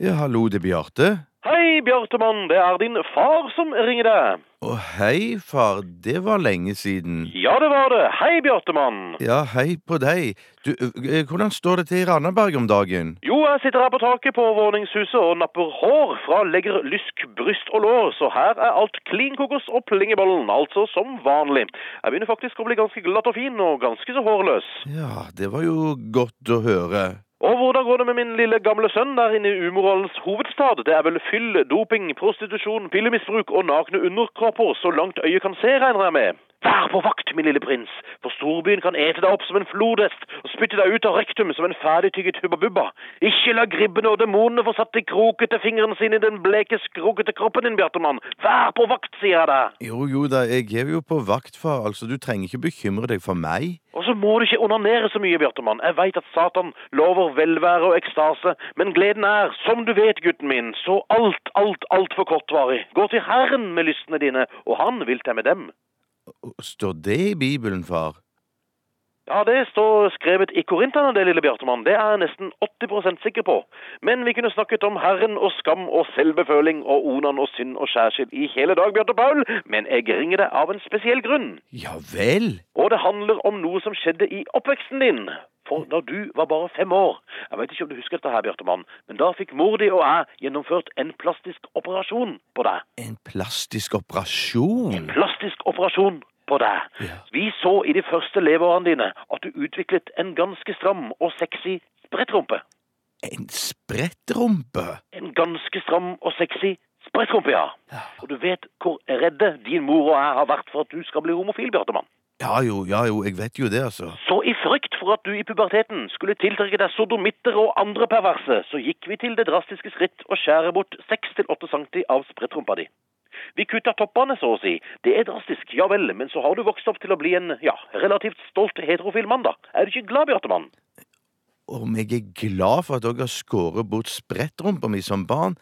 Ja, hallo, det er Bjarte. Hei, Bjartemann, det er din far som ringer deg. Å, hei, far, det var lenge siden. Ja, det var det. Hei, Bjartemann. Ja, hei på deg. Du, eh, hvordan står det til i Randaberg om dagen? Jo, jeg sitter her på taket på våningshuset og napper hår fra legger, lysk, bryst og lår, så her er alt klin kokos og pling i bollen, altså som vanlig. Jeg begynner faktisk å bli ganske glatt og fin, og ganske så hårløs. Ja, det var jo godt å høre. Og hvordan går det med min lille gamle sønn der inne i umoralens hovedstad? Det er vel fyll, doping, prostitusjon, pillemisbruk og nakne underkropper så langt øyet kan se, regner jeg med. Vær på vakt, min lille prins, for storbyen kan ete deg opp som en flodhest og spytte deg ut av rektum som en ferdigtygget hubba-bubba. Ikke la gribbene og demonene få satt de krokete fingrene sine i den bleke, skrokete kroppen din, Bjartemann. Vær på vakt, sier jeg deg. Jo, jo da, jeg er jo på vakt, far. Altså, du trenger ikke bekymre deg for meg. Og så må du ikke onanere så mye, Bjartemann. Jeg veit at Satan lover velvære og ekstase, men gleden er, som du vet, gutten min, så alt, alt, altfor kortvarig. Gå til Herren med lystene dine, og han vil temme dem. Står det i Bibelen, far? Ja, det står skrevet i Korintene, det lille Bjartemann. Det er jeg nesten 80 sikker på. Men vi kunne snakket om Herren og skam og selvbeføling og onan og synd og skjærsild i hele dag, Bjarte Paul, men jeg ringer deg av en spesiell grunn. Ja vel? Og det handler om noe som skjedde i oppveksten din. For da du var bare fem år Jeg vet ikke om du husker dette, her, Bjartemann, men da fikk mor di og jeg gjennomført en plastisk operasjon på deg. En plastisk operasjon? Plastisk operasjon på deg. Ja. Vi så i de første leveårene dine at du utviklet en ganske stram og sexy sprettrumpe. En sprettrumpe? En ganske stram og sexy sprettrumpe, ja. Ja. Og du vet hvor redde din mor og jeg har vært for at du skal bli homofil, Bjartemann. Ja jo, ja jo, jeg vet jo det, altså. Så i frykt for at du i puberteten skulle tiltrekke deg sodomitter og andre perverse, så gikk vi til det drastiske skritt å skjære bort 6-8 cm av sprettrumpa di. Vi kutta toppene, så å si. Det er drastisk, ja vel, men så har du vokst opp til å bli en, ja, relativt stolt heterofil mann, da. Er du ikke glad, Bjartemann? Om jeg er glad for at dere har skåret bort sprettrumpa mi som barn?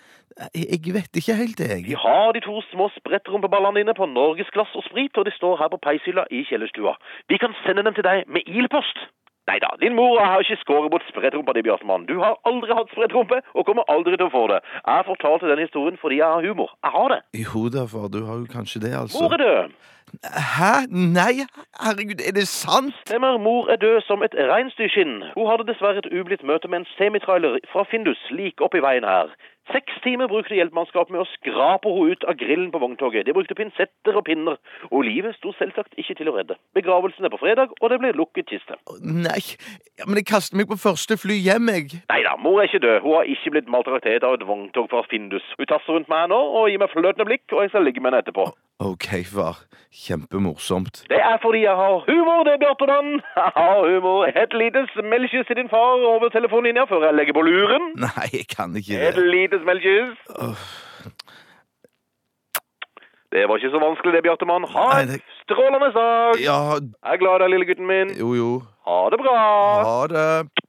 Jeg, jeg vet ikke helt, jeg. Vi har de to små spretterumpeballene dine på norgesglass og sprit, og de står her på peishylla i kjellerstua. Vi kan sende dem til deg med ilpost. Nei da, din mor har ikke skåret bort sprettrumpa di, Bjartemann. Du har aldri hatt sprettrumpe, og kommer aldri til å få det. Jeg fortalte den historien fordi jeg har humor. Jeg har det. Jo da, far, du har jo kanskje det, altså. Mor er død. Hæ? Nei, herregud, er det sant? Stemmer, mor er død som et reinsdyrskinn. Hun hadde dessverre et ublidt møte med en semitrailer fra Findus like oppi veien her. Seks timer brukte hjelpemannskapet med å skrape henne ut av grillen på vogntoget. De brukte pinsetter og pinner, og livet sto selvsagt ikke til å redde. Begravelsen er på fredag, og det blir lukket kiste. Nei, ja, men jeg kaster meg på første fly hjem, jeg. Nei da, mor er ikke død. Hun har ikke blitt maltraktert av et vogntog fra Findus. Hun tasser rundt meg nå og gir meg fløtende blikk, og jeg skal ligge med henne etterpå. Ok, far. Kjempemorsomt. Det er fordi jeg har humor, det, Bjartemann. Jeg har humor. Et lite smellkyss til din far over telefonlinja før jeg legger på luren. Nei, jeg kan ikke Et det. lite smellkyss. Det var ikke så vanskelig det, Bjartemann. Ha Nei, en det- strålende dag. Ja, Jeg er glad i deg, lille gutten min. jo jo. Ha det bra. Ha det.